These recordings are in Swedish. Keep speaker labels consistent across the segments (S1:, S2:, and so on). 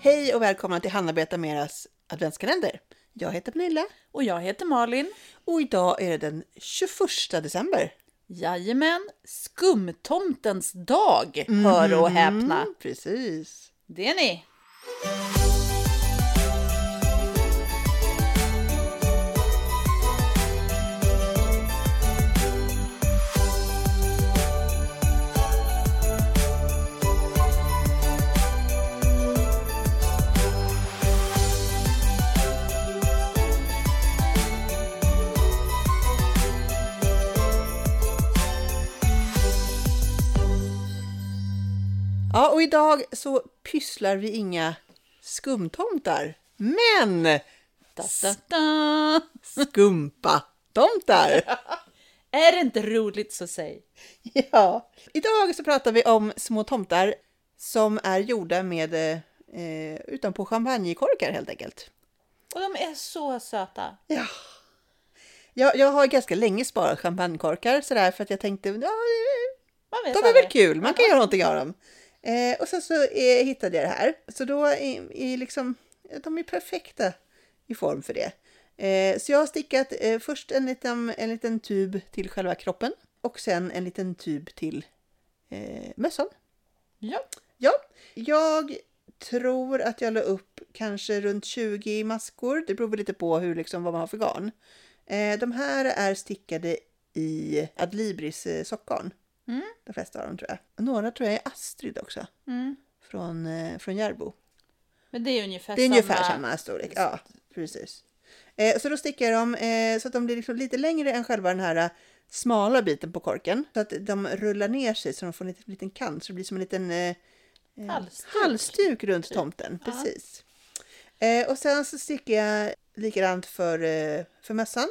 S1: Hej och välkomna till Hanna berättar meras adventskalender. Jag heter Pernilla
S2: Och jag heter Malin.
S1: och idag är det den 21 december.
S2: Jajamän, skumtomtens dag,
S1: Mhm.
S2: hör och häpna.
S1: Mm, precis.
S2: Det är ni.
S1: Ja, och idag så pysslar vi inga skumtomtar, men
S2: Da, da, da.
S1: skumpatomtar.
S2: Är det inte roligt så säg.
S1: ja. Idag så pratar vi om små tomtar som är gjorda med eh, utanpå champagnekorkar helt enkelt.
S2: Och de är så söta.
S1: Ja. Jag, jag har ganska länge sparat champagnekorkar sådär för att jag tänkte ja,
S2: Man vet
S1: de är väl
S2: aldrig.
S1: kul, man kan göra någonting av dem. Eh, och sen så eh, hittade jag det här. Så då är, är liksom, de är perfekta i form för det. Eh, så jag har stickat eh, först en liten, en liten tub till själva kroppen och sen en liten tub till eh, mössan.
S2: Ja.
S1: Ja, jag tror att jag la upp kanske runt 20 maskor. Det beror väl lite på hur, liksom, vad man har för garn. Eh, de här är stickade i Adlibris eh, sockgarn.
S2: Mm.
S1: De flesta av dem tror jag. Några tror jag är Astrid också,
S2: Mm.
S1: från, eh, från Järbo.
S2: Men det är ungefär,
S1: Det är
S2: samma.
S1: ungefär samma storlek. Ja, precis. Eh, så då stickar jag dem eh, så att de blir liksom lite längre än själva den här eh, smala biten på korken. Så att de rullar ner sig så de får en liten, liten kant. Så det blir som en liten eh, eh,
S2: Halsduk.
S1: halsduk runt tomten.
S2: Ja.
S1: Precis. Eh, och sen så stickar jag likadant för, eh, för mössan.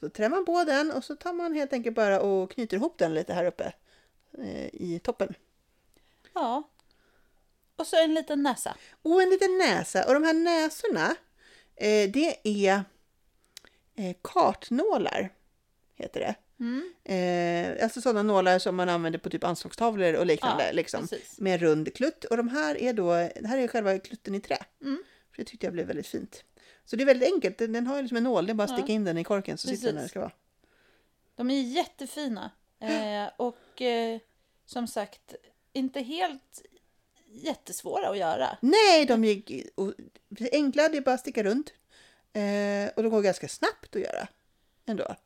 S1: Så trär man på den och så tar man helt enkelt bara och knyter ihop den lite här uppe eh, i toppen.
S2: Ja. Och så en liten näsa.
S1: Och en liten näsa. Och de här näsorna, eh, det är eh, kartnålar, heter det.
S2: Mm.
S1: Eh, alltså sådana nålar som man använder på typ anslagstavlor och liknande.
S2: Ja,
S1: liksom,
S2: precis.
S1: Med en rund klutt. Och de här är då, det här är själva klutten i trä.
S2: Mm.
S1: För det tyckte jag blev väldigt fint. Så det är väldigt enkelt. Den, den har ju liksom en nål, det är bara att
S2: Ja.
S1: sticka in den i korken så sitter den där den
S2: Precis.
S1: ska vara.
S2: De är jättefina. Eh, och eh, som sagt, inte helt jättesvåra att göra.
S1: Nej, de gick och, enkla, det är bara att sticka runt. Eh, och de går ganska snabbt att göra. Ändå.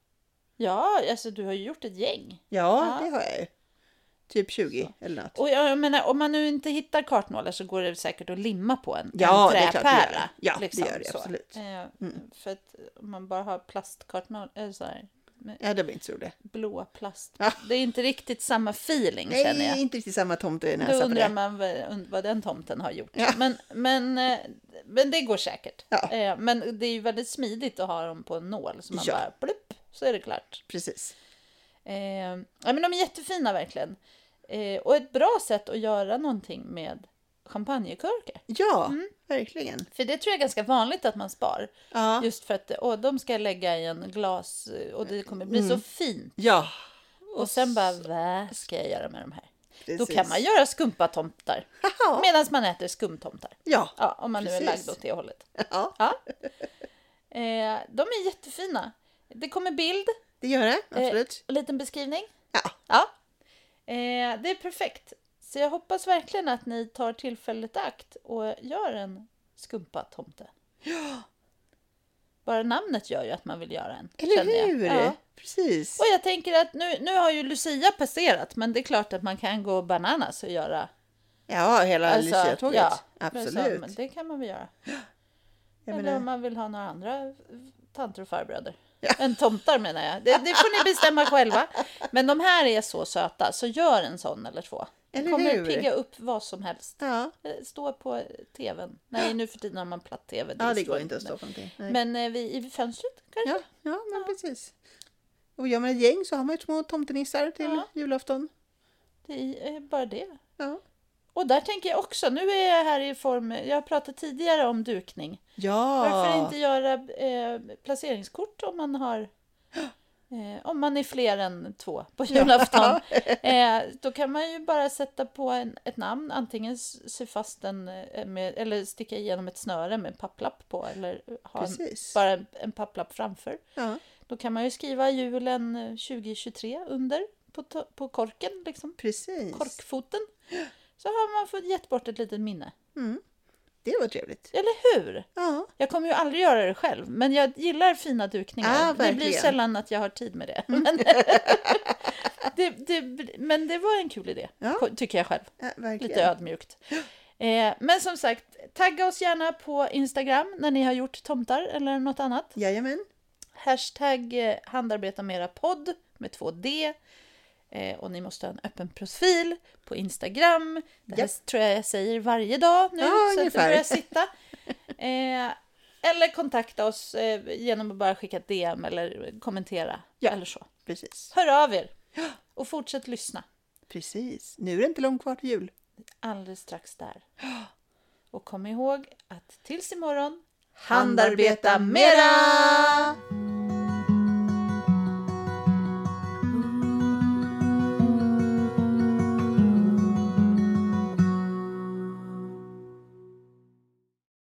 S2: Ja, alltså du har ju gjort ett gäng.
S1: Ja,
S2: Ja.
S1: det har jag ju. Typ 20
S2: Så.
S1: eller något.
S2: Och jag menar, om man nu inte hittar kartnålar så går det säkert att limma på en,
S1: Ja,
S2: en
S1: det är klart det gör
S2: träpärla.
S1: det. Ja, det
S2: liksom,
S1: gör det
S2: så.
S1: absolut. Mm.
S2: Eh, För att om man bara har plastkartnålar, eller så här,
S1: Ja, det blir inte så roligt.
S2: blå plast.
S1: Ja.
S2: Det är inte riktigt samma feeling känner
S1: Nej,
S2: jag.
S1: inte riktigt samma tomte i
S2: Då
S1: näsa på
S2: undrar
S1: det.
S2: man vad, und- vad den tomten har gjort.
S1: Ja.
S2: Men, men, eh, men det går säkert.
S1: Ja.
S2: Eh, Men det är ju väldigt smidigt att ha dem på en nål så man
S1: Ja.
S2: bara plupp så är det klart.
S1: Precis.
S2: Eh, ja, men de är jättefina verkligen. Eh, och ett bra sätt att göra någonting med champagnekorkar.
S1: Ja,
S2: Mm.
S1: verkligen.
S2: För det tror jag är ganska vanligt att man spar.
S1: Ja.
S2: Just för att åh, de ska jag lägga i en glas eh, och det kommer bli så
S1: Mm.
S2: fint.
S1: ja.
S2: Och sen bara, vad ska jag göra med de här?
S1: Precis.
S2: Då kan man göra skumpatomtar.
S1: Haha,
S2: Medan man äter skumtomtar.
S1: Ja.
S2: Ja, om man nu är
S1: Precis.
S2: lagd åt det hållet.
S1: ja,
S2: Ja. Eh, de är jättefina. Det kommer bild
S1: det gör det.
S2: Eh,
S1: Absolut.
S2: och liten beskrivning.
S1: Ja.
S2: Ja. Eh, det är perfekt. Så jag hoppas verkligen att ni tar tillfället i akt och gör en skumpatomte. Bara namnet gör ju att man vill göra en. känner
S1: Eller
S2: jag.
S1: hur?
S2: Ja.
S1: Precis.
S2: Och jag tänker att nu, nu har ju Lucia passerat, men det är klart att man kan gå bananas och göra.
S1: Ja, hela
S2: Alltså,
S1: Lucia-tåget.
S2: ja, men som-
S1: Absolut.
S2: Det kan man väl göra.
S1: Jag
S2: Eller
S1: menar-
S2: om man vill ha några andra tanter och farbröder.
S1: Ja.
S2: En tomtar menar jag. Det, det får ni bestämma själva. Men de här är så söta, så gör en sån eller två.
S1: Eller
S2: Eller kommer
S1: hur?
S2: pigga upp vad som helst.
S1: Ja.
S2: Eh, Stå på tvn. Nej, nu för tiden har man platt-tv.
S1: ja,
S2: är
S1: det går
S2: svårt.
S1: inte att stå på någonting. Nej.
S2: Men eh, vi, i fönstret kanske?
S1: Ja, ja men precis. Och gör man ett gäng så har man ju små tomtenissar till
S2: Ja.
S1: julafton.
S2: Det är eh, bara det.
S1: Ja.
S2: Och där tänker jag också, nu är jag här i form, jag har pratat tidigare om dukning.
S1: ja.
S2: Varför inte göra eh, placeringskort om man har Eh, om man är fler än två på julafton. Eh, då kan man ju bara sätta på en, ett namn, antingen s- sy fast den eh, med, eller sticka igenom ett snöre med en papplapp på eller ha en,
S1: Precis.
S2: bara en, en papplapp framför.
S1: Ja.
S2: Då kan man ju skriva julen eh, 2023 under på, to- på korken, liksom
S1: Precis.
S2: korkfoten. Så har man fått gett bort ett litet minne.
S1: Mm. Det var trevligt.
S2: Eller hur?
S1: Ja,
S2: Jag kommer ju aldrig göra det själv, men jag gillar fina dukningar.
S1: Ah,
S2: det blir
S1: verkligen. Mm.
S2: sällan att jag har tid med det. Men det, det, men det var en kul idé,
S1: Ja.
S2: ko- tycker jag själv.
S1: ja eh, verkligen.
S2: Lite ödmjukt. Eh, men som sagt, tagga oss gärna på Instagram när ni har gjort tomtar eller något annat.
S1: Jajamän.
S2: Hashtag eh, handarbeta med era podd med 2D. Eh, och ni måste ha en öppen profil på Instagram. Det här tror jag jag säger varje dag nu
S1: Ja,
S2: så att
S1: ungefär.
S2: det börjar sitta. Eh, eller kontakta oss eh, genom att bara skicka ett DM eller kommentera.
S1: Ja.
S2: Eller så.
S1: Precis.
S2: Hör av er! Och fortsätt lyssna.
S1: Precis. Nu är det inte långt kvar till jul.
S2: Alldeles strax där. Och kom ihåg att tills imorgon,
S1: Handarbeta mera!